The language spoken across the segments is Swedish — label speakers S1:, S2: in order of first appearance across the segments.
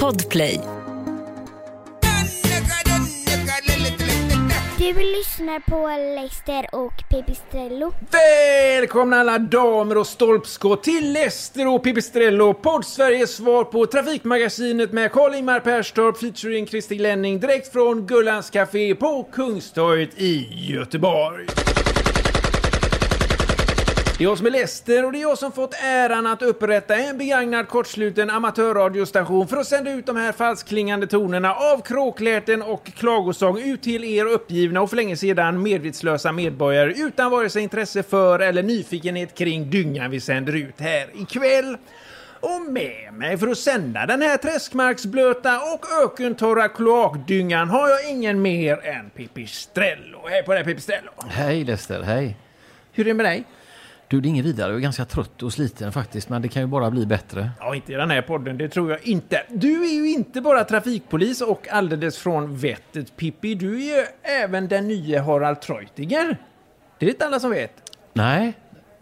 S1: Podplay.
S2: Du lyssnar på Leicester och Pipistrello.
S3: Välkomna alla damer och stolpskott till Lester och Pipistrello, podd Sveriges svar på Trafikmagasinet med Karl-Ingmar Perstorp featuring Kristi Lenning direkt från Gullans Café på Kungstorget i Göteborg. Det är jag som är Lester och det är jag som fått äran att upprätta en begagnad kortsluten amatörradiostation för att sända ut de här falsklingande tonerna av kråkläten och klagosång ut till er uppgivna och för länge sedan medvetslösa medborgare utan vare sig intresse för eller nyfikenhet kring dyngan vi sänder ut här ikväll. Och med mig för att sända den här träskmarksblöta och ökentorra kloakdyngan har jag ingen mer än Pipistrello. Hej på dig Pipistrello!
S4: Hej Lester, hej.
S3: Hur är det med dig?
S4: Du, det är inget vidare. Jag är ganska trött och sliten faktiskt, men det kan ju bara bli bättre.
S3: Ja, inte i den här podden, det tror jag inte. Du är ju inte bara trafikpolis och alldeles från vettet, Pippi. Du är ju även den nya Harald Treutiger. Det är inte alla som vet.
S4: Nej,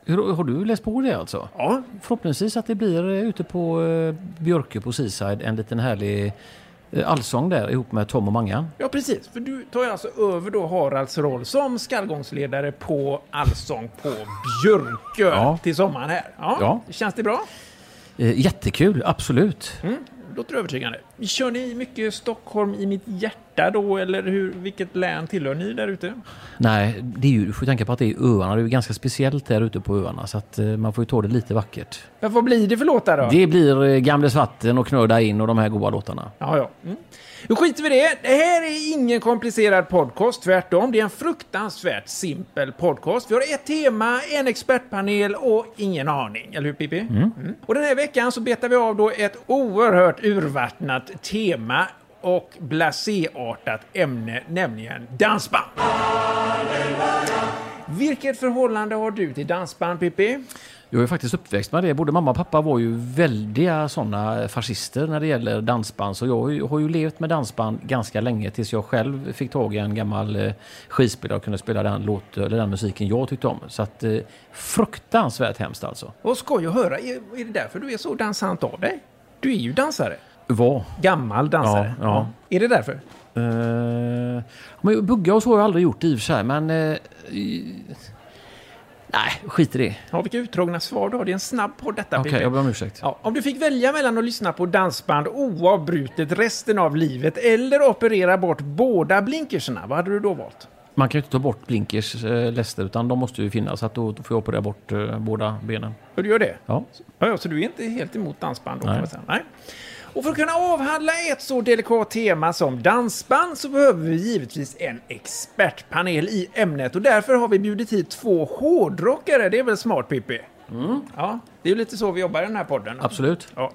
S4: Hur, har du läst på det alltså?
S3: Ja.
S4: Förhoppningsvis att det blir eh, ute på eh, Björke på Seaside en liten härlig eh, allsång där ihop med Tom och Mangan.
S3: Ja, precis. För du tar ju alltså över då Haralds roll som skallgångsledare på Allsång på Björkö
S4: Ja.
S3: till sommaren här.
S4: Ja.
S3: Känns det bra?
S4: Eh, jättekul, absolut.
S3: Mm. Låter övertygande. Kör ni mycket Stockholm i mitt hjärta då, eller hur, vilket län tillhör ni där ute?
S4: Nej, det är ju, du får ju tänka på att det är öarna. Det är ju ganska speciellt där ute på öarna så att eh, man får ju ta det lite vackert.
S3: Men Vad blir det för låtar då?
S4: Det blir eh, Gamles vatten och Knöda in och de här goda låtarna.
S3: Ja, ja. Mm. Nu skiter vi i det. Det här är ingen komplicerad podcast, tvärtom. Det är en fruktansvärt simpel podcast. Vi har ett tema, en expertpanel och ingen aning. Eller hur Pippi? Mm. Och den här veckan så betar vi av då ett oerhört urvattnat tema och blaséartat ämne, nämligen dansband. Vilket förhållande har du till dansband, Pippi?
S4: Jag är faktiskt uppväxt med det. Både mamma och pappa var ju väldiga sådana fascister när det gäller dansband. Så jag har ju- har ju levt med dansband ganska länge tills jag själv fick tag i en gammal eh, skivspelare och kunde spela den, låt, eh, eller den musiken jag tyckte om. Så att, eh, fruktansvärt hemskt alltså.
S3: Vad skoj att höra. Är är det därför du är så dansant av dig? Du är ju dansare.
S4: Vad?
S3: Gammal dansare?
S4: Ja, ja.
S3: Är det därför?
S4: Eh, men bugga och så har jag aldrig gjort i och för sig, men... Eh, i- nej, skit i det.
S3: Ja, vilka uttråkna svar du har. Det är en snabb podd detta,
S4: Okej,
S3: Pippi.
S4: jag ber om ursäkt.
S3: Ja, om du fick välja mellan att lyssna på dansband oavbrutet resten av livet eller operera bort båda blinkerserna, vad hade du då valt?
S4: Man kan ju inte ta bort blinkers, eh, Lester, utan de måste ju finnas. Så att då, då får jag operera bort eh, båda benen.
S3: Och du gör det?
S4: Ja.
S3: Ja, ja, så du är inte helt emot dansband då, kan
S4: Nej.
S3: man säga. Nej. Och för att kunna avhandla ett så delikat tema som dansband så behöver vi givetvis en expertpanel i ämnet och därför har vi bjudit hit två hårdrockare. Det är väl smart, Pippi? Ja, det är ju lite så vi jobbar i den här podden.
S4: Mm. Absolut.
S3: Ja.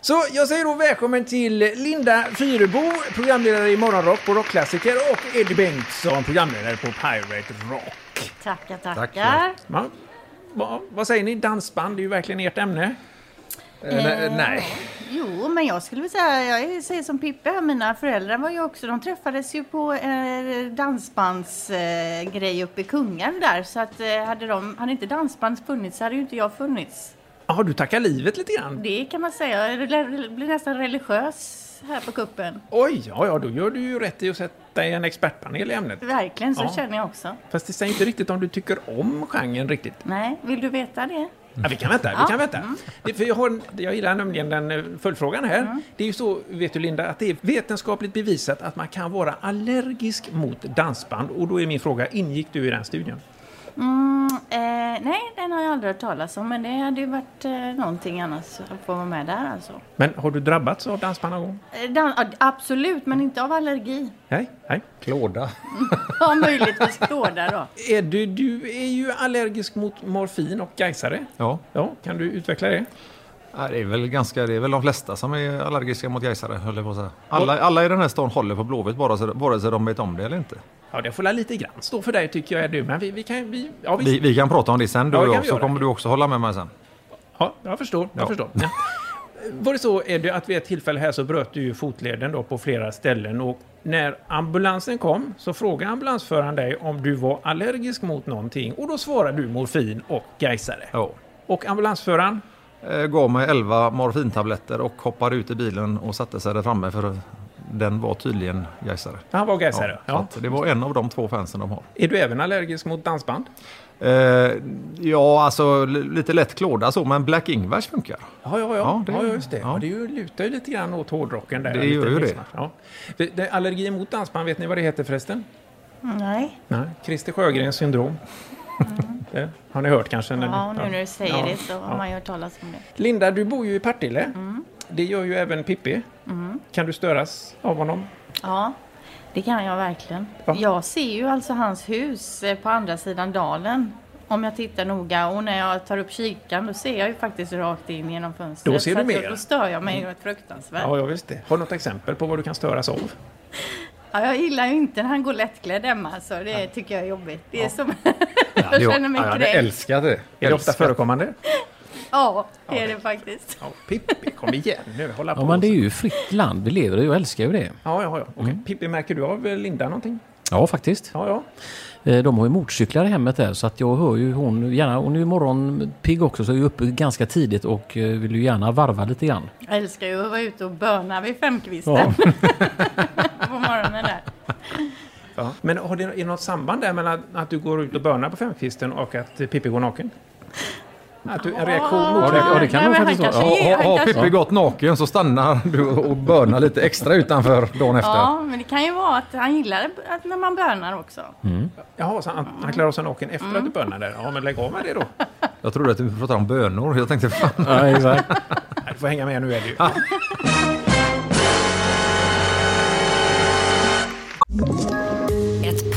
S3: Så jag säger då välkommen till Linda Fyrebo, programledare i Morgonrock på Rockklassiker och Eddie Bengtsson, programledare på Pirate Rock.
S5: Tackar, tackar.
S3: Va? Va? Vad säger ni? Dansband, det är ju verkligen ert ämne.
S5: Eh, Jo, men jag skulle vilja säga, jag säger som Pippe här, mina föräldrar var ju också, de träffades ju på eh, dansbandsgrej eh, grej uppe i Kungälv där, så att eh, hade, de, hade inte dansband funnits hade ju inte jag funnits.
S3: Ja, du tackar livet lite grann.
S5: Det kan man säga, jag re- blir nästan religiös här på kuppen.
S3: Oj, ja, ja, då gör du ju rätt i att sätta dig i en expertpanel i ämnet.
S5: Verkligen, så
S3: Ja.
S5: känner jag också.
S3: Fast det säger inte riktigt om du tycker om genren riktigt.
S5: Nej, vill du veta det?
S3: Ja, vi kan vänta, vi kan vänta. Det, för jag, har, en- jag gillar nämligen den eh, följdfrågan här. Det är ju så, vet du Linda, att det är vetenskapligt bevisat att man kan vara allergisk mot dansband. Och då är min fråga, ingick du i den studien?
S5: Mm, eh, nej, den har jag aldrig hört talas om, men det hade ju varit eh, någonting annars att få vara med där alltså.
S3: Men har du drabbats av dansband någon gång?
S5: Eh, Dan- ja, absolut, men inte av allergi.
S3: Nej, nej.
S6: Klåda.
S5: Ja, möjligtvis klåda då.
S3: Är du, du är ju allergisk mot morfin och gaisare.
S6: Ja,
S3: Ja, kan du utveckla det?
S6: Nej, det är väl ganska, det är väl de flesta som är allergiska mot gaisare, höll jag på att säga. Alla, alla i den här stan håller på Blåvitt, bara så- vare sig de vet om det eller inte.
S3: Ja, det får la lite grann stå för dig tycker jag, är du. Men vi, vi kan... Vi, ja, vi,
S6: Vi, vi kan prata om det sen du
S3: Ja, det
S6: och
S3: kan
S6: jag,
S3: vi
S6: så
S3: göra.
S6: kommer du också hålla med mig sen.
S3: Ja, jag förstår. Jag
S6: Ja.
S3: förstår. Ja. Var det så är det att vid ett tillfälle här så bröt du ju fotleden då på flera ställen och när ambulansen kom så frågade ambulansföraren dig om du var allergisk mot någonting och då svarade du morfin och gaisare.
S6: Ja.
S3: Och ambulansföraren,
S6: Eh, Gav mig 11 morfintabletter och hoppade ut i bilen och satte sig där framme för den var tydligen gaisare.
S3: Han var gaisare.
S6: Ja,
S3: Ja,
S6: så att Det var en av de två fansen de har.
S3: Är du även allergisk mot dansband?
S6: Eh, ja, alltså li- lite lätt klåda så, men Black Ingvars funkar.
S3: Ja, ja, ja. ja,
S6: Ja,
S3: det,
S6: det-
S3: just det.
S6: ja.
S3: Ja. Det är ju, lutar ju lite grann åt hårdrocken där.
S6: Det
S3: Lite
S6: gör ju det.
S3: missmatch. Ja. Det- det- Allergi mot dansband, vet ni vad det heter förresten?
S5: Nej.
S3: Nej. Christer Sjögrens syndrom. Det har ni hört kanske? När
S5: Ja, nu när du säger
S3: Ja,
S5: det så har
S3: ja.
S5: man ju hört talas om det.
S3: Linda, du bor ju i Partille. Det gör ju även Pippi. Kan du störas av honom?
S5: Ja, det kan jag verkligen.
S3: Ja.
S5: Jag ser ju alltså hans hus eh, på andra sidan dalen. Om jag tittar noga och när jag tar upp kikaren då ser jag ju faktiskt rakt in genom fönstret.
S3: Då ser
S5: Så
S3: du
S5: att jag-
S3: mer. Mm.
S5: Då stör jag mig ju ett fruktansvärt.
S3: Ja, ja, visst det. Har du något exempel på vad du kan störas av?
S5: Ja, jag gillar ju inte när han går lättklädd hemma så det tycker jag är jobbigt. Det är som... jag
S6: Det-
S5: känner mig
S6: ja, jag hade
S5: kränkt.
S6: älskat det.
S3: Är det ofta förekommande?
S5: Ja, det är det faktiskt.
S3: Ja, Pippi, kom igen nu. Hålla på.
S4: Ja, men det är ju Mm. fritt land vi lever i. Jag älskar ju det.
S3: ja, ja, ja. Okej. Pippi, märker du av eh, Linda någonting?
S4: Ja, faktiskt.
S3: Ja, ja.
S4: Eh, De har ju motorcyklar i hemmet där så att jag hör ju hon gärna. Hon är ju morgonpigg också så är ju uppe ganska tidigt och eh, vill ju gärna varva lite grann.
S5: Jag älskar ju att vara ute och böna vid femkvisten
S4: Ja.
S5: på morgonen där.
S3: ja. Men har det, är det något samband där mellan att- att du går ut och bönar på femkvisten och att eh, Pippi går naken? Att du, en reaktion mot
S4: det- ja, det kan
S5: Nej,
S4: nog
S5: men
S4: faktiskt
S5: han
S4: vara.
S5: kanske
S6: Har
S5: är-
S6: ha, Pippi gått naken så stannar du och bönar lite extra utanför dagen efter.
S5: Ja, men det kan ju vara att han gillar att när man bönar också.
S3: Jaha, så han, han klarar av sig naken efter att du bönar där? Ja, men lägg av med det då.
S6: Jag trodde att du pratade om bönor. Jag tänkte fan.
S4: Ja, exakt.
S3: Nej, Du får hänga med nu, är det ju.
S1: Ett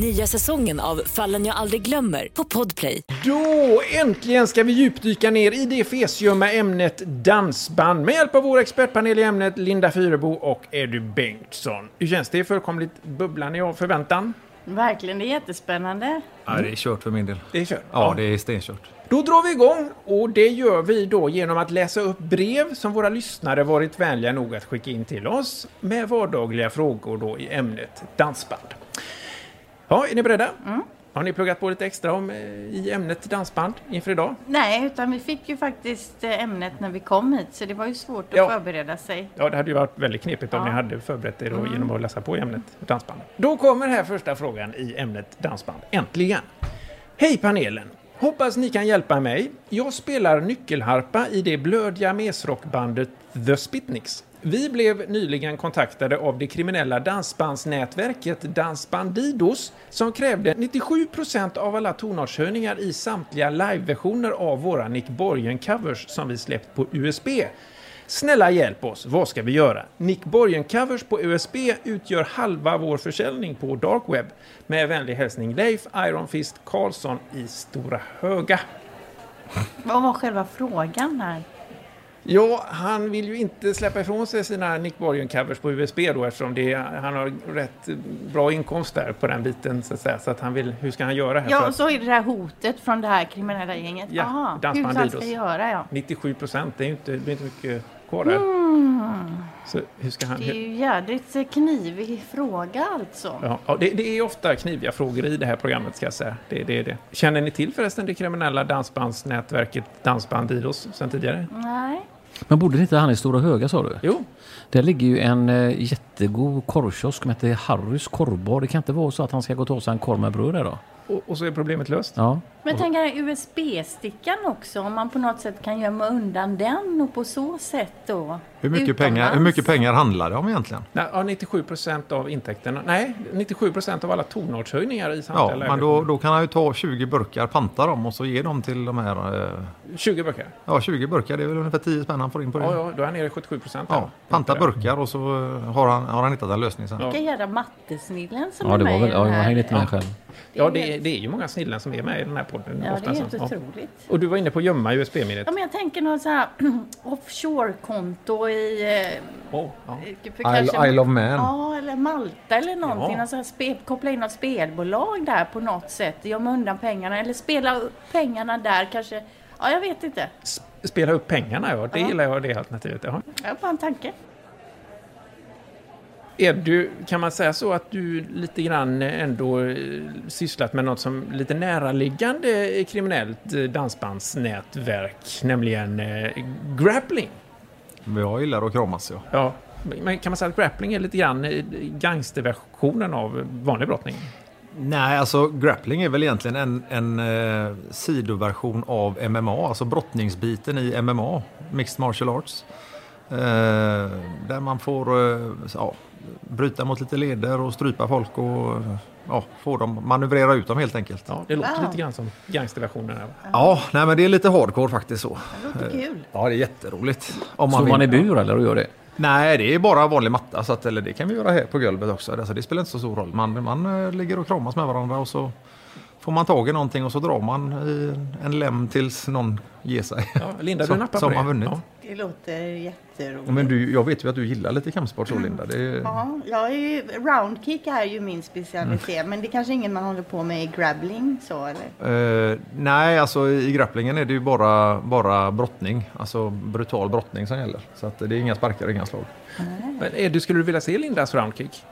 S1: Nya säsongen av Fallen jag aldrig glömmer på Podplay.
S3: Då äntligen ska vi djupdyka ner i det fesgömma ämnet dansband med hjälp av vår expertpanel i ämnet Linda Fyrebo och Eddie Bengtsson. Hur känns det? Fullkomligt bubblan i av förväntan?
S5: Verkligen, det är jättespännande.
S6: Nej, det är kört för min del.
S3: Det är kört.
S6: Ja, det är stenkört.
S3: Då drar vi igång och det gör vi då genom att läsa upp brev som våra lyssnare varit vänliga nog att skicka in till oss med vardagliga frågor då i ämnet dansband. Ja, är ni beredda? Har ni pluggat på lite extra om, eh, i ämnet dansband inför idag?
S5: Nej, utan vi fick ju faktiskt eh, ämnet när vi kom hit så det var ju svårt att
S3: Ja.
S5: förbereda sig.
S3: Ja, det hade ju varit väldigt knepigt om ni hade förberett er då genom att läsa på i ämnet dansband. Då kommer här första frågan i ämnet dansband. Äntligen! Hej panelen! Hoppas ni kan hjälpa mig. Jag spelar nyckelharpa i det blödiga mesrockbandet The Spitniks. Vi blev nyligen kontaktade av det kriminella dansbandsnätverket Dansbandidos som krävde 97% av alla tonartshöjningar i samtliga liveversioner av våra Nick Borgen-covers som vi släppt på USB. Snälla hjälp oss, vad ska vi göra? Nick Borgen-covers på USB utgör halva vår försäljning på dark web. Med vänlig hälsning Leif Ironfist Karlsson i Stora Höga.
S5: Vad var själva frågan här?
S3: Ja, han vill ju inte släppa ifrån sig sina Nick Borgen-covers på USB då eftersom det är, han har rätt bra inkomst där på den biten så att säga. Så att han vill, hur ska han göra här?
S5: Ja,
S3: för
S5: och
S3: att
S5: så är det det här hotet från det här kriminella gänget.
S3: Ja,
S5: Aha, hur
S3: Dansbandidos.
S5: han ska göra ja.
S3: 97 procent, det är ju inte, det blir inte mycket kvar där.
S5: Mm.
S3: Så hur ska han...
S5: Det är ju jädrigt eh, knivig fråga alltså.
S3: Ja, ja, det, det är ofta kniviga frågor i det här programmet ska jag säga. Det, det, det. Känner ni till förresten det kriminella dansbandsnätverket Dansbandidos sen tidigare?
S5: Mm. Nej.
S4: Men bodde inte han i Stora Höga sa du?
S3: Jo,
S4: Där ligger ju en eh, jättegod korvkiosk som heter Harrys korvbar. Det kan inte vara så att han ska gå och ta sig en korv med bröd där då?
S3: och, och så är problemet löst.
S4: Ja.
S5: Men tänk här USB-stickan också, om man på något sätt kan gömma undan den och på så sätt då.
S6: Hur mycket, pengar, hur
S5: utomlands.
S6: mycket pengar handlar det om egentligen?
S3: Nej, Ja, 97 procent av intäkterna. Nej, 97 procent av alla tonartshöjningar i samtliga
S6: Ja,
S3: lägen.
S6: men då, då kan han ju ta 20 burkar, panta dem och så ge dem till de här... eh,
S3: 20 böcker.
S6: Ja, 20 burkar, det är väl ungefär 10 spänn han får in på det.
S3: Ja, ja, då är han nere i 77 procent.
S6: Ja, panta burkar och så eh, har han, har han hittat en lösning sen.
S5: Vilka jädra mattesnillen som
S4: ja,
S5: är
S4: det var
S5: med
S4: väl...
S5: i
S4: Ja,
S5: den
S4: jag
S5: här.
S4: hängde inte med själv.
S3: Ja, det, är- det är ju många snillen som är med i den här podden.
S5: Ja, det
S3: ofta
S5: är
S3: så.
S5: helt
S3: Ja.
S5: otroligt.
S3: Och du var inne på att gömma USB-minnet.
S5: Ja, men jag tänker någon så här offshore-konto i i... eh,
S4: Oh, ja.
S5: för
S6: Isle, Isle of Man.
S5: Ja, eller Malta eller någonting.
S4: Ja.
S5: Alltså, spe, koppla in något spelbolag där på något sätt. Gömma undan pengarna eller spela upp pengarna där kanske. Ja, jag vet inte.
S3: S- Spela upp pengarna, ja. Det gillar jag, det alternativet. Ja.
S5: Jag har bara en tanke.
S3: Är du, kan man säga så att du lite grann ändå eh, sysslat med något som lite näraliggande eh, kriminellt eh, dansbandsnätverk, nämligen eh, grappling?
S6: Men Jag gillar att kramas ja.
S3: Ja, men kan man säga att grappling är lite grann eh, gangsterversionen av vanlig brottning?
S6: Nej, alltså grappling är väl egentligen en, en eh, sidoversion av MMA, alltså brottningsbiten i MMA, Mixed Martial Arts. Eh, där man får eh, ja, bryta mot lite leder och strypa folk och eh, ja, få dem, manövrera ut dem helt enkelt.
S3: Ja, det låter
S5: Wow.
S3: lite grann som gangsterversionen. Här.
S6: Ja, nej, men det är lite hardcore faktiskt så.
S5: Det låter kul.
S6: Ja, det är jätteroligt. Om
S4: Står
S6: vill.
S4: man i bur eller och gör det?
S6: Nej, det är bara vanlig matta, så att, eller det kan vi göra här på golvet också. Alltså, det spelar inte så stor roll. Man, man eh, ligger och kramas med varandra och så får man tag i någonting och så drar man i en lem tills någon ger sig.
S3: Ja, Linda,
S6: Så-
S3: du nappar
S6: som
S3: på det.
S6: har vunnit.
S3: Ja.
S5: Det låter jätteroligt.
S6: Men du, jag vet ju att du gillar lite kampsport så Linda. Det är,
S5: Ja, jag är ju, roundkick är ju min specialitet, men det kanske ingen man håller på med i grabbling så eller?
S6: Eh, nej, alltså i grapplingen är det ju bara, bara brottning, alltså brutal brottning som gäller. Så att, det är inga sparkar och inga slag.
S3: Men är Eh, du, skulle du vilja se Lindas roundkick?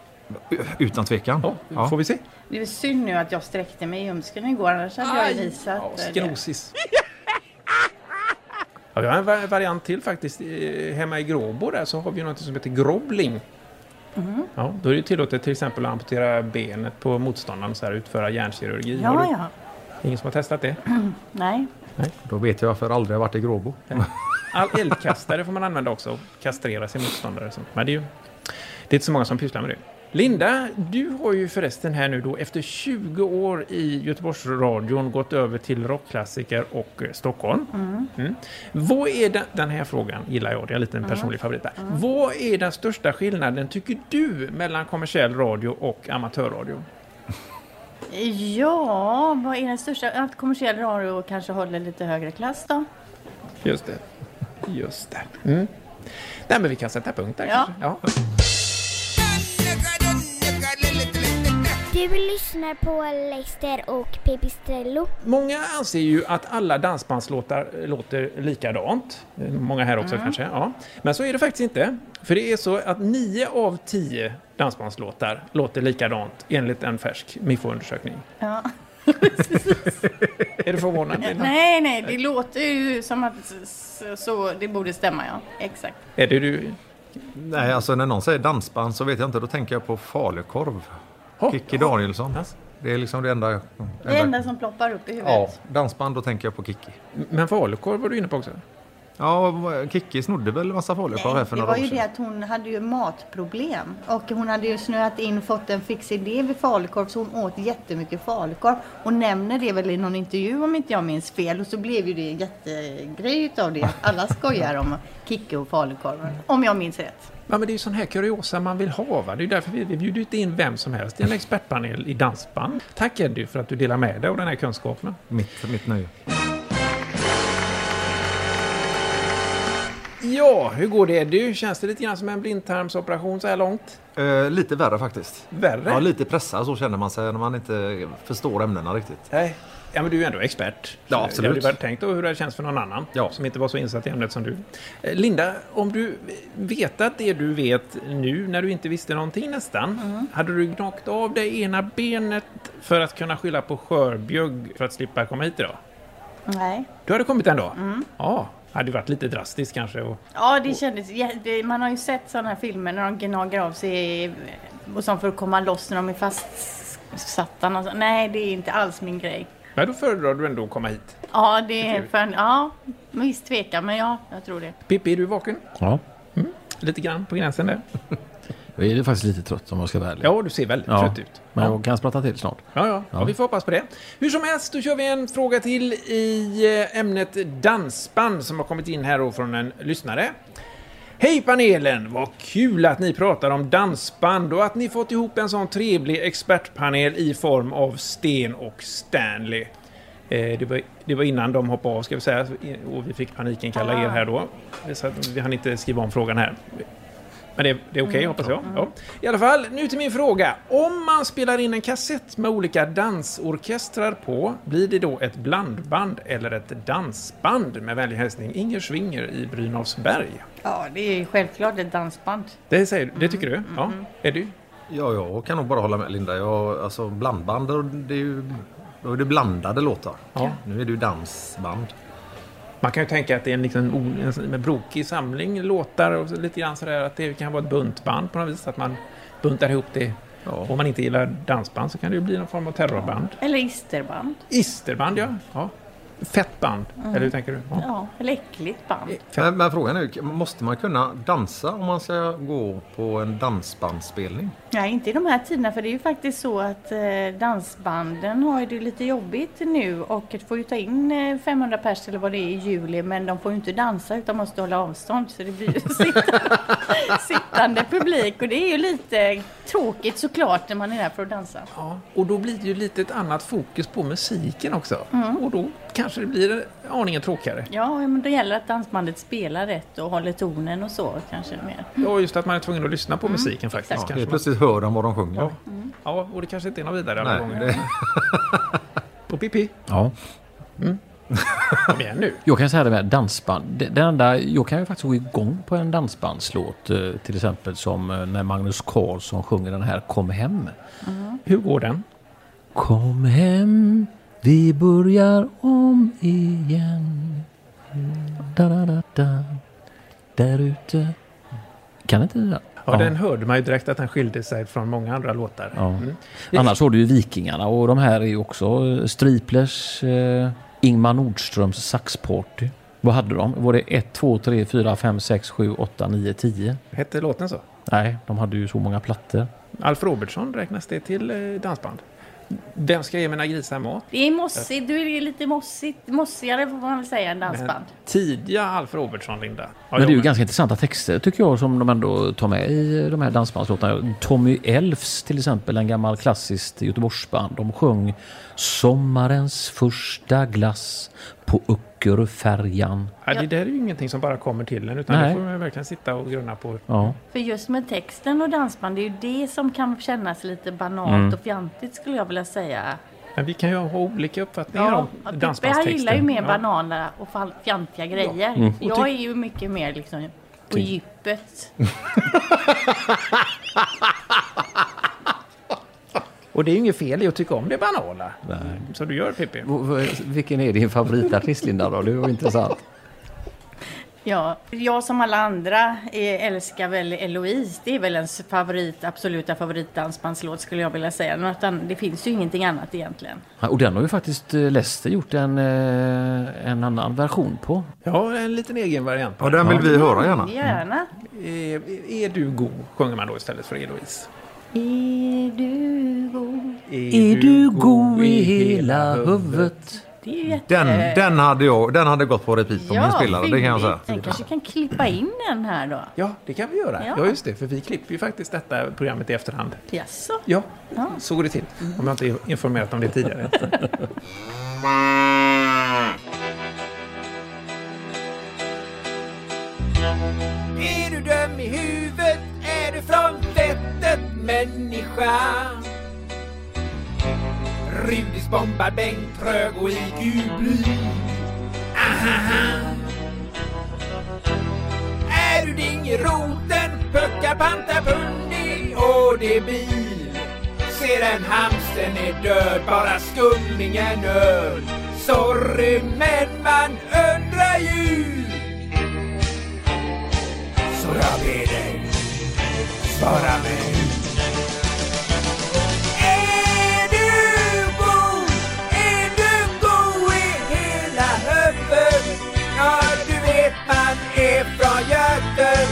S6: Utan tvekan.
S3: Ja,
S6: Ja.
S3: får vi se.
S5: Det är synd nu att jag sträckte mig i ljumsken igår, annars hade jag ju visat
S3: Ja,
S5: det.
S3: skrosis. Ja, vi har en va- variant till faktiskt. Eh, Hemma i Gråbo där så har vi ju något som heter grobbling.
S5: Mm-hmm.
S3: Ja, då är det tillåtet till exempel att amputera benet på motståndaren så här utföra hjärnkirurgi. Har
S5: Ja,
S3: du-
S5: ja.
S3: Ingen som har testat det?
S5: Nej.
S6: Då vet jag varför jag aldrig har varit i Gråbo.
S3: All eldkastare får man använda också och kastrera sin motståndare. och sånt. Men det är ju det är inte så många som pysslar med det. Linda, du har ju förresten här nu då efter 20 år i Göteborgsradion gått över till rockklassiker och eh, Stockholm. Mm. Vad är den, den här frågan gillar jag, det är en liten personlig favorit där. Vad är den största skillnaden tycker du mellan kommersiell radio och amatörradio?
S5: Ja, vad är den största? Att kommersiell radio kanske håller lite högre klass då?
S3: Just det. Just det. Mm. Nej, men vi kan sätta punkt där
S5: Ja.
S3: kanske. Ja.
S2: Du lyssnar på Leicester och Pipistrello.
S3: Många anser ju att alla dansbandslåtar eh, låter likadant. Eh, Många här
S5: Mm.
S3: också kanske. Ja. Men så är det faktiskt inte. För det är så att 9 av 10 dansbandslåtar låter likadant enligt en färsk MIFO-undersökning.
S5: Ja.
S3: Är du förvånad? Linda?
S5: Nej, nej, det låter ju som att så, så det borde stämma ja. Exakt.
S3: Är det du?
S6: Nej, alltså när någon säger dansband så vet jag inte, då tänker jag på falukorv.
S3: Ja,
S6: Kikki Danielsson.
S3: Yes.
S6: Det är liksom det enda...
S5: Det enda som ploppar upp i
S6: Ja,
S5: huvudet.
S6: dansband, då tänker jag på Kikki.
S3: Men falukorv var du inne på också?
S6: Ja, eh, Kikki snodde väl massa falukorv här för
S5: det
S6: några år
S5: var ju det
S6: sedan.
S5: att hon hade ju matproblem och hon hade ju snöat in fått en fix idé vid falukorv så hon åt jättemycket falukorv och nämner det väl i någon intervju om inte jag minns fel och så blev ju det en jättegrej utav det. Alla skojar om Kicke och falukorven om jag minns rätt.
S3: Ja, men det är ju sån här kuriosa man vill ha. Va? Det är ju därför vi, vi bjuder inte in vem som helst i en expertpanel i dansband. Tack Eddie för att du delar med dig av den här kunskapen.
S6: Mitt, mitt nöje.
S3: Ja, hur går det Eddie? Känns det lite grann som en blindtarmsoperation så här långt?
S6: Eh, lite värre faktiskt.
S3: Värre?
S6: Ja, lite pressad så känner man sig när man inte förstår ämnena riktigt.
S3: Nej. Ja, men du är ju ändå expert.
S6: Ja,
S3: Så
S6: absolut.
S3: Jag hade bara tänkt då hur det känns för någon annan
S6: Ja.
S3: som inte var så insatt i ämnet som du. Eh, Linda, om du vetat det du vet nu när du inte visste någonting nästan, hade du knockat av dig ena benet för att kunna skylla på skörbjugg för att slippa komma hit idag?
S5: Nej.
S3: Du hade kommit ändå? Ja, hade ju varit lite drastiskt kanske. Och...
S5: Ja, det kändes... jä- det- Man har ju sett sådana här filmer när de gnager av sig och som för att komma loss när de är fastsatta. någonstans. Nej, det är inte alls min grej.
S3: Men då föredrar du ändå att komma hit.
S5: Ja, det är för en... Ja, med viss tvekan, men ja, jag tror det.
S3: Pippi, är du vaken?
S4: Ja.
S3: Lite grann på gränsen där.
S4: Jag är faktiskt lite trött om jag ska vara ärlig.
S3: Ja, du ser väldigt trött ut.
S4: Men
S3: Ja.
S4: jag kan spratta till snart.
S3: Ja, ja, ja. vi får hoppas på det. Hur som helst, då kör vi en fråga till i eh, ämnet dansband som har kommit in här då från en lyssnare. Hej panelen! Vad kul att ni pratar om dansband och att ni fått ihop en sån trevlig expertpanel i form av Sten och Stanley. Eh, Det var, det var innan de hoppade av ska vi säga och vi fick paniken kalla er här då. Så att vi hann inte skriva om frågan här. Men det, det är okej hoppas jag. Ja. I alla fall, nu till min fråga. Om man spelar in en kassett med olika dansorkestrar på, blir det då ett blandband eller ett dansband? Med vänlig hälsning Inger Swinger i Brynolfsberg.
S5: Ja, det är självklart ett dansband.
S3: Det, säger, det tycker du? Ja. Är du?
S6: Ja, jag kan nog bara hålla med Linda. Jag, alltså blandband, och det är ju, då är det blandade låtar.
S3: Ja.
S6: Nu är det ju dansband.
S3: Man kan ju tänka att det är en, liksom, o- en, sån- en brokig samling låtar och så lite grann sådär att det kan vara ett buntband på något vis. Att man buntar ihop det.
S6: Ja.
S3: Om man inte gillar dansband så kan det ju bli någon form av terrorband.
S5: Eller isterband.
S3: Isterband, ja. ja. Fett band, eller hur tänker du? Ja.
S5: Ja, eller äckligt band.
S6: Men, men frågan är ju, måste man kunna dansa om man ska gå på en dansbandsspelning?
S5: Nej, inte i de här tiderna för det är ju faktiskt så att eh, dansbanden har ju det lite jobbigt nu och får ju ta in eh, 500 pers eller vad det är i juli men de får ju inte dansa utan måste hålla avstånd så det blir ju sittande, sittande publik och det är ju lite tråkigt såklart när man är där för att dansa.
S3: Ja, och då blir det ju lite ett annat fokus på musiken också. Och då kanske det blir aningen tråkigare.
S5: Ja, men det gäller att dansbandet spelar rätt och håller tonen och så kanske mer.
S3: Ja, just att man är tvungen att lyssna på musiken faktiskt.
S6: Ja,
S3: Kanske
S6: helt
S3: man...
S6: plötsligt hör de vad de sjunger.
S3: ja. ja, och det kanske inte är något vidare alla
S6: Nej,
S3: gånger.
S6: det,
S3: På pipi,
S4: Ja.
S3: kom igen nu.
S4: Jag kan säga det med dansband. Det, det enda, jag kan ju faktiskt gå igång på en dansbandslåt. eh, Till exempel som eh, när Magnus Carlsson sjunger den här Kom hem.
S3: Hur går den?
S4: Kom hem, vi börjar om igen. Da, da, da, da. Där ute. Kan inte det där?
S3: Ja, den hörde man ju direkt att den skilde sig från många andra låtar.
S4: Ja.
S3: Mm.
S4: Annars har du ju Vikingarna och de här är ju också eh, Striplers, eh, Ingmar Nordströms saxparty. Vad hade de? Var det 1, 2, 3, 4, 5, 6, 7, 8, 9, 10?
S3: Hette låten så?
S4: Nej, de hade ju så många plattor.
S3: Alf Robertsson, räknas det till eh, dansband? Vem ska ge mina grisar mat?
S5: Det är mossigt, du är lite mossigt, mossigare får man väl säga än dansband.
S3: Tidiga Alf Robertsson, Linda. Ja,
S4: Men det är ju
S3: jag-
S4: ganska intressanta texter tycker jag som de ändå tar med i de här dansbandslåtarna. Tommy Elfs till exempel, en gammal klassiskt Göteborgsband. De sjöng Sommarens första glass på Öckerfärjan.
S3: Ja, det där är ju ingenting som bara kommer till en, utan
S4: Nej.
S3: det får man verkligen sitta och grunna på.
S4: Ja.
S5: För just med texten och dansband, det är ju det som kan kännas lite banalt och fjantigt skulle jag vilja säga.
S3: Men vi kan ju ha olika uppfattningar om
S5: Pippe han gillar
S3: dansbandstexter.
S5: ju mer
S3: Ja.
S5: banala och fall- fjantiga grejer. Jag är ju mycket mer liksom på djupet.
S3: Och det är ju inget fel i att tycka om det banala. Så du gör Pippi.
S4: Vilken är din favoritartist Linda då? Det var intressant.
S5: Ja, jag som alla andra eh, älskar väl Eloise. Det är väl ens favorit, absoluta favoritdansbandslåt skulle jag vilja säga. Men Utan det finns ju ingenting annat egentligen.
S4: Och den har ju faktiskt eh, Lester gjort en, eh, en annan version på.
S3: Ja, en liten egen variant. på
S6: och den vill vi höra gärna. Mm.
S5: Gärna.
S3: Är, är du god, sjunger man då istället för Eloise.
S5: Är du god?
S4: Är du god i hela huvudet?
S5: Det är ju jätte...
S6: Den, den, hade jag, den hade gått på repeat på min spelare, det kan jag säga.
S5: fyndigt. Jag kanske kan klippa in den här då.
S3: Ja, det kan vi göra. Ja.
S5: Ja.
S3: just det. För vi klipper ju faktiskt detta programmet i efterhand.
S5: Jaså?
S3: Ja, så går det till. Om jag inte informerat om det tidigare. Är du döm i huvudet? Är du från fettet människa? Rudis bombad, Bengt trög och IQ blyg. Är du dingeroten, pucka, panta, pundi och debil? Ser en hamsten är död, bara skumningen öl. Sorry men man undrar ju. Så jag ber dig, svara mig. Är du god? Är du god i hela höften? Ja, du vet man är från Göten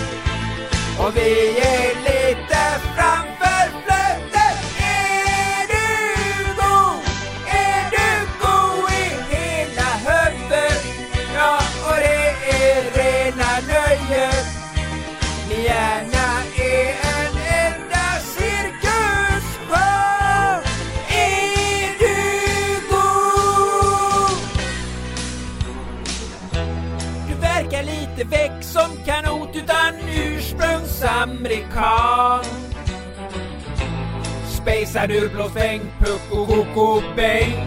S3: och vi är lite framför flöten. Är du god? Är du god i hela höften? Ja, och det är rena nöjet. Ni gärna är en enda
S7: amerikan Spejsar du blåfäng, puck och koko bäng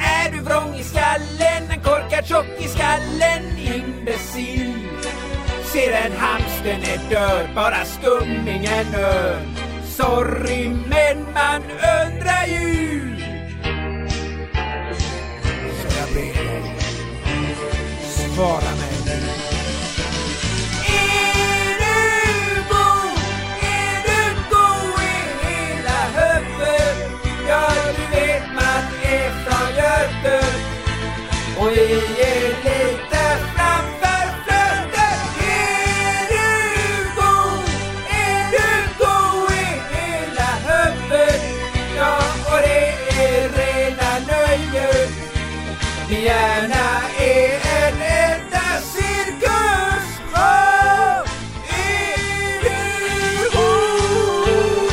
S7: Är du vrång i skallen, en korkad tjock i skallen, imbecill Ser en hamstern är död, bara skumningen öl Sorry men man undrar ju Så jag ber dig, svara mig Är du god? Är du god i hela höften? Ja, du vet man är från Göteborg och vi är lite framför flödet Är du god? Är du god i hela huvudet? Ja, och det är rena nöjet Min hjärna är en enda cirkus Åh, är du god?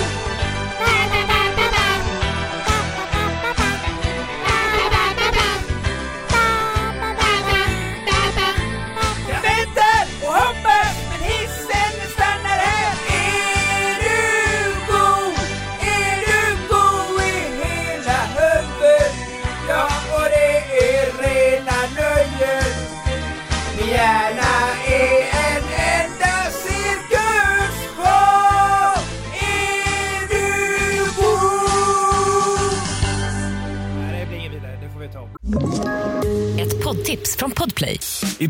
S7: Jag väntar och hoppas men hissen den stannar här. Är du god? Är du god i hela huvudet? Ja, och det är rena nöjet. Min hjärna är en enda cirkusshow. Är du god?
S3: Nej, det blir inget vidare. Det får vi ta om.
S1: Ett poddtips från Podplay.
S8: I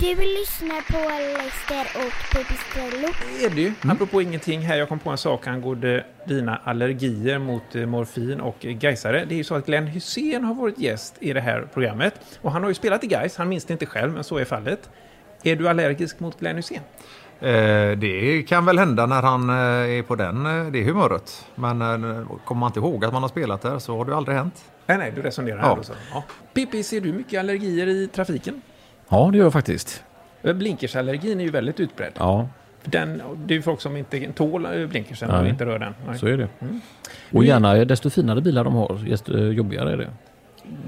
S2: Du lyssnar på Leicester och Pipistrello.
S3: är det ju. Apropå ingenting här, jag kom på en sak angående dina allergier mot eh, morfin och Gaisare. Det är ju så att Glenn Hussein har varit gäst i det här programmet. Och han har ju spelat i Gais, han minns det inte själv, men så är fallet. Är du allergisk mot Glenn Hussein?
S6: Eh, det kan väl hända när han eh, är på den, eh, det humöret. Men eh, kommer man inte ihåg att man har spelat där så har det aldrig hänt.
S3: Nej, nej, du resonerar
S6: Ja.
S3: här då så. Ja. Pippi, ser du mycket allergier i trafiken?
S4: Ja, det gör jag faktiskt.
S3: Eh, Blinkersallergin är ju väldigt utbredd.
S4: Ja,
S3: Den, det är ju folk som inte tål eh, blinkersen och
S4: Nej.
S3: inte rör den. Nej.
S4: så är det. Och gärna, eh, desto finare bilar de har, desto eh, jobbigare är det.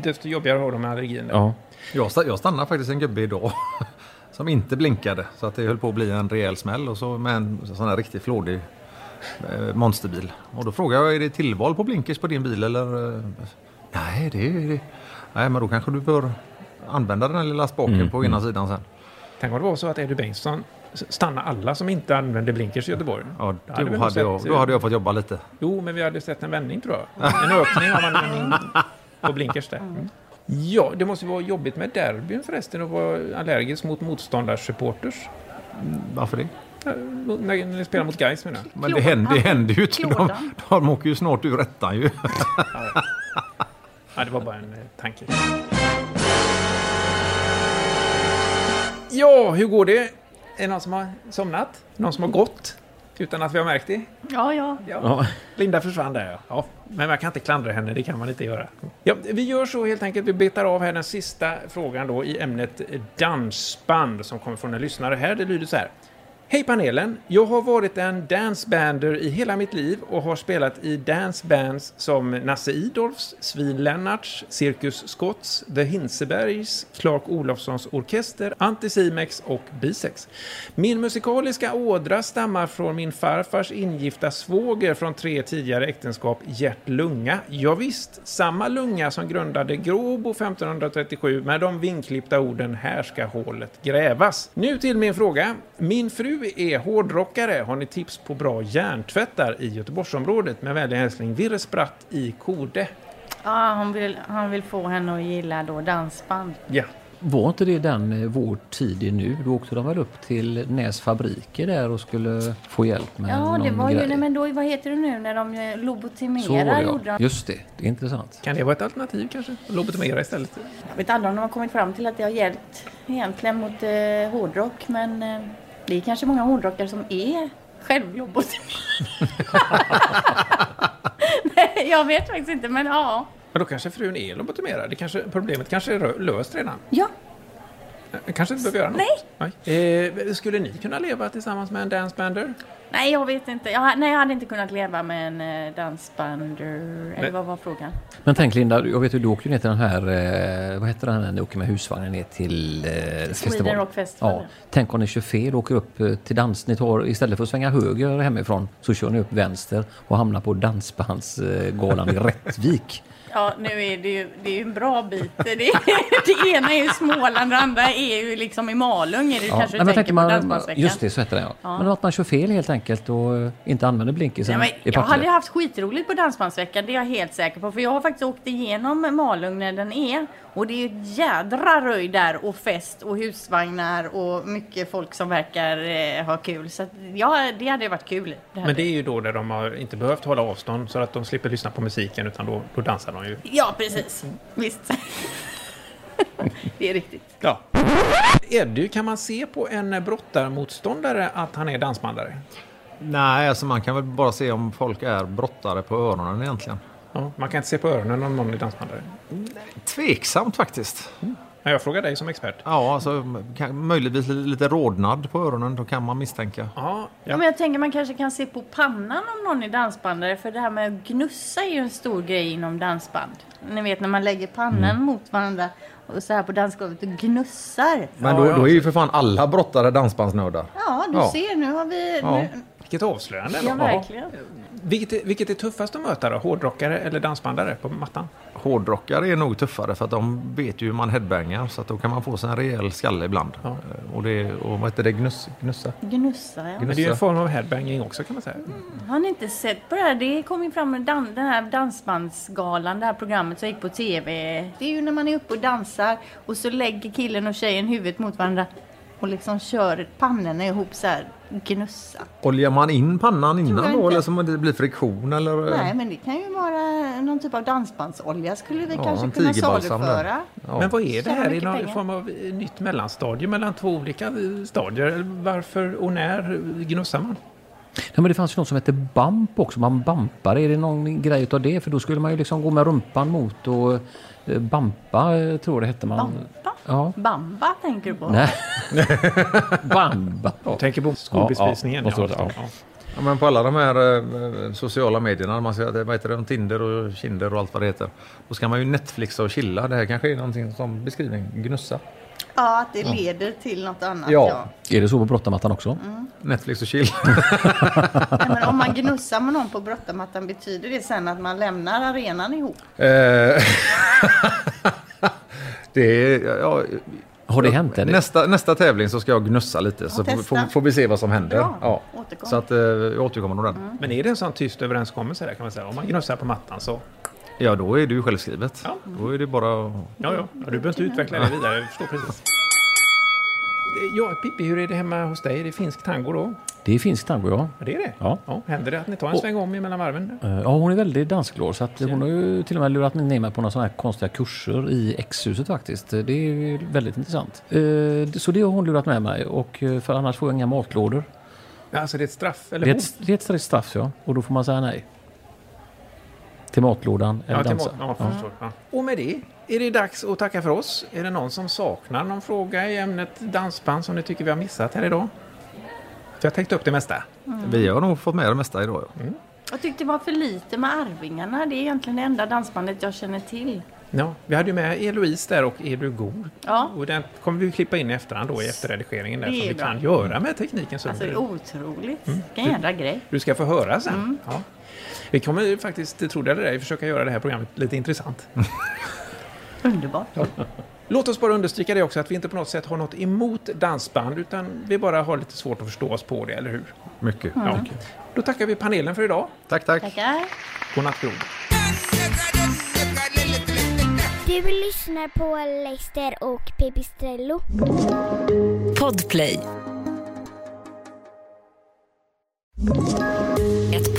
S3: Desto jobbigare har de med allergin.
S4: Ja.
S6: Jag, sta- jag stannade faktiskt en gubbe idag som inte blinkade. Så att det höll på att bli en rejäl smäll och så med en sån här riktigt flådig eh, monsterbil. Och då frågade jag, är det tillval på blinkers på din bil eller? eh, Nej, det är det. Nej, men då kanske du bör använda den här lilla spaken på ena sidan sen.
S3: Tänk om det var så att Eddie Bengtsson s- stannar alla som inte använder blinkers i Göteborg.
S6: Ja,
S3: Då hade vi
S6: då,
S3: nog
S6: hade jag,
S3: sett,
S6: då
S3: eh,
S6: hade jag fått jobba lite.
S3: Jo, men vi hade sett en vändning tror jag. En ökning av användning på blinkers där. Mm. Ja, det måste ju vara jobbigt med derbyn förresten att vara allergisk mot motståndarsupporters.
S6: Varför det?
S3: Eh, När ni spelar mot Gais menar jag.
S6: Men det händer, det händer ju inte. De,
S5: Klådan.
S6: de åker ju snart ur ettan ju.
S3: Ja, det var bara en eh, tanke. Ja, hur går det? Är det någon som har somnat? Någon som har gått? Utan att vi har märkt det?
S5: Ja, ja.
S4: Ja.
S3: Linda försvann där, ja. ja. Men man kan inte klandra henne, det kan man inte göra. Ja, vi gör så helt enkelt, vi betar av här den sista frågan då i ämnet dansband som kommer från en lyssnare här. Det lyder så här. Hej panelen! Jag har varit en dancebander i hela mitt liv och har spelat i dancebands som Nasse Idolfs, Svin Lennarts, Cirkus Scotts, The Hinsebergs, Clark Olofssons Orkester, Anticimex och Bisex. Min musikaliska ådra stammar från min farfars ingifta svåger från tre tidigare äktenskap, Gert Lunga. Ja, visst, samma Lunga som grundade Gråbo 1537 med de vinklippta orden “Här ska hålet grävas”. Nu till min fråga. Min fru är hårdrockare. Har ni tips på bra hjärntvättar i Göteborgsområdet? Med vänlig hälsning Virre Spratt i Kode.
S5: ja han, vill, han vill få henne att gilla då dansband.
S3: Ja.
S4: Var inte det den eh, vår tid är nu? Då åkte de väl upp till Näs fabriker där och skulle få hjälp med
S5: Ja,
S4: någon
S5: det var
S4: grej.
S5: ju, nej, men då, vad heter det nu när de eh,
S4: Så var
S5: lobotimerar?
S4: det
S5: gjorde
S4: ja.
S5: de.
S4: Just det, det är intressant.
S3: Kan det vara ett alternativ kanske? Lobotomera istället?
S5: Jag vet aldrig om de har kommit fram till att det har hjälpt egentligen mot eh, hårdrock, men eh, det är kanske många hårdrockare som är självlobotimerade. nej, jag vet faktiskt inte, men ja.
S3: Men då kanske frun är lobotomerad? Det kanske, problemet kanske är rö- löst redan?
S5: Ja.
S3: Jag kanske inte behöver göra något? Nej. Eh, skulle ni kunna leva tillsammans med en dancebander?
S5: Nej, jag vet inte. Jag, nej, jag hade inte kunnat leva med en eh, dansbander. Eller vad var frågan?
S4: Men tänk Linda, jag vet ju du åkte ju ner till den här, eh, vad heter den när ni åker med husvagnen ner till eh, festivalen?
S5: Rock Festival,
S4: Ja.
S5: ja.
S4: Tänk om ni kör fel och åker upp eh, till dans, ni tar, istället för att svänga höger hemifrån så kör ni upp vänster och hamnar på dansbandsgalan i Rättvik.
S5: Ja, nu är det ju, det är ju en bra bit. Det, det ena är ju Småland, det andra är ju liksom i Malung. Är det
S4: Ja,
S5: kanske
S4: nej,
S5: du
S4: men
S5: tänker
S4: tänk
S5: på
S4: man,
S5: Dansbandsveckan?
S4: just det, så heter den ja.
S5: Ja.
S4: Men att man kör fel helt enkelt och eh, inte använder blinkersen
S5: Ja, men
S4: i
S5: jag hade
S4: Partille.
S5: haft skitroligt på Dansbandsveckan, det är jag helt säker på. För jag har faktiskt åkt igenom Malung när den är. Och det är ju ett jädra röj där och fest och husvagnar och mycket folk som verkar eh, ha kul. Så att, ja, det hade ju varit kul. Det hade
S3: Men det är ju då där de har inte behövt hålla avstånd så att de slipper lyssna på musiken utan då, då dansar de ju.
S5: Ja, precis. Visst. det är riktigt.
S3: Ja. Eddie, kan man se på en brottarmotståndare att han är dansbandare?
S6: Nej, alltså man kan väl bara se om folk är brottare på öronen egentligen.
S3: Ja, man kan inte se på öronen om någon är dansbandare.
S6: Tveksamt faktiskt.
S3: Men jag frågar dig som expert.
S6: Ja, alltså kan, möjligtvis li- lite rodnad på öronen, då kan man misstänka.
S3: Ja,
S5: Ja. Men jag tänker man kanske kan se på pannan om någon är dansbandare. För det här med att gnussa är ju en stor grej inom dansband. Ni vet när man lägger pannan
S6: Mm.
S5: mot varandra och så här på dansgolvet och gnussar.
S6: Men då, då är ju för fan alla brottare dansbandsnördar.
S5: Ja, du ser, nu har vi...
S6: Ja.
S5: Nu...
S3: Vilket avslöjande.
S5: Ja,
S3: ändå.
S5: verkligen.
S3: Vilket, är- vilket är tuffast att möta då? Hårdrockare eller dansbandare på mattan?
S6: Hårdrockare är nog tuffare för att de vet ju hur man headbangar så att då kan man få sig en rejäl skalle ibland. Eh, Och, det, och vad heter det? Gnuss, gnussa?
S5: Gnussa, ja.
S3: Men det är ju en form av headbanging också kan man säga.
S5: Har ni inte sett på det här? Det kom ju fram i dan- den här dansbandsgalan, det här programmet som gick på TV. Det är ju när man är uppe och dansar och så lägger killen och tjejen huvudet mot varandra och liksom kör pannorna ihop så här, gnussa.
S6: Oljar man in pannan
S5: jag
S6: innan då
S5: inte.
S6: eller så må det blir friktion eller? eh,
S5: Nej, men det kan ju vara någon typ av dansbandsolja skulle vi
S6: Ja,
S5: kanske
S6: en
S5: kunna
S6: tigerbalsam där.
S5: saluföra.
S6: Ja.
S3: Men vad är det
S5: Tjäna
S3: här? Är
S5: mycket
S3: det någon
S5: pengar.
S3: form av eh, nytt mellanstadie mellan två olika eh, stadier? Eller Varför och när gnussar man?
S4: Nej, men det fanns ju något som hette bump också, man bumpar. Är det någon grej utav det? För då skulle man ju liksom gå med rumpan mot och eh, bampa, eh, tror jag det hette man.
S5: Bampa?
S4: Ja.
S5: Bamba tänker du på?
S4: Nej. Bamba.
S3: Tänker på skolbespisningen.
S6: Ja, ja,
S3: ja.
S6: ja. Ja, men på alla de här eh, sociala medierna, man ska, vad heter det, Tinder och Kinder och allt vad det heter. Då ska man ju Netflixa och chilla. Det här kanske är någonting som beskrivning, gnussa.
S5: Ja, att det
S6: Ja.
S5: leder till något annat.
S6: Ja.
S5: ja.
S4: Är det så på brottarmattan också?
S3: Mm.
S6: Netflix och chill.
S5: Nej, men om man gnussar med någon på brottarmattan betyder det sen att man lämnar arenan ihop?
S6: Eh, det är, ja,
S4: Har det hänt eller?
S6: Nästa, nästa tävling så ska jag gnussa lite så
S5: testa.
S6: får, får, får vi se vad som händer.
S5: Bra.
S6: Ja.
S5: Återkom. Mm.
S6: Så att, eh, jag återkommer nog den.
S3: Men är det en sån tyst överenskommelse där kan man säga? Om man gnussar på mattan så...
S6: Ja, då är det ju självskrivet. Då är det bara att
S3: Ja, ja. Du behöver inte utveckla det vidare. Jag förstår precis. Ja, Pippi, hur är det hemma hos dig? Är det finsk tango då?
S4: Det är finsk tango, ja.
S3: Ja, det är det?
S4: Ja.
S3: Händer det att ni tar en
S4: Och-
S3: sväng om emellan varven?
S4: Eh, Ja, hon är väldigt danskglad så att hon har ju till och med lurat ner mig på några sådana här konstiga kurser i X-huset faktiskt. Eh, Det är ju väldigt intressant. Eh, det- Så det har hon lurat med mig och eh, för annars får jag inga matlådor.
S3: Alltså, det är ett straff?
S4: Det
S3: Eller
S4: är
S3: hot?
S4: ett, det är ett strikt straff ja, och då får man säga nej. Till matlådan eller
S3: Ja, till
S4: dansa.
S3: mat- ja, förstår. Ja. Och med det är det dags att tacka för oss. Är det någon som saknar någon fråga i ämnet dansband som ni tycker vi har missat här idag? För jag har täckt upp det mesta.
S5: Mm.
S6: Vi har nog fått med det mesta idag. Ja.
S5: Jag tyckte det var för lite med Arvingarna. Det är egentligen det enda dansbandet jag känner till.
S3: Ja, vi hade ju med Eloise där och Är du god?
S5: Ja.
S3: Och den kommer vi ju klippa in i efterhand då i efterredigeringen där
S5: Det
S3: som
S5: är
S3: vi
S5: bra.
S3: kan göra med teknikens
S5: Alltså det är
S3: under.
S5: otroligt. Vilken jädra grej.
S3: Du ska få höra sen.
S5: Mm.
S3: Ja. Vi kommer ju faktiskt, trodde jag eller ej, försöka göra det här programmet lite intressant.
S5: Underbart.
S3: Låt oss bara understryka det också att vi inte på något sätt har något emot dansband utan vi bara har lite svårt att förstå oss på det, eller hur?
S6: Mycket.
S3: Ja.
S5: Mm.
S3: Då tackar vi panelen för idag.
S6: Tack, tack.
S5: Tackar.
S3: Godnatt, Gro.
S2: Du Du lyssnar på Leicester och Pipistrello.
S1: Podplay. Ett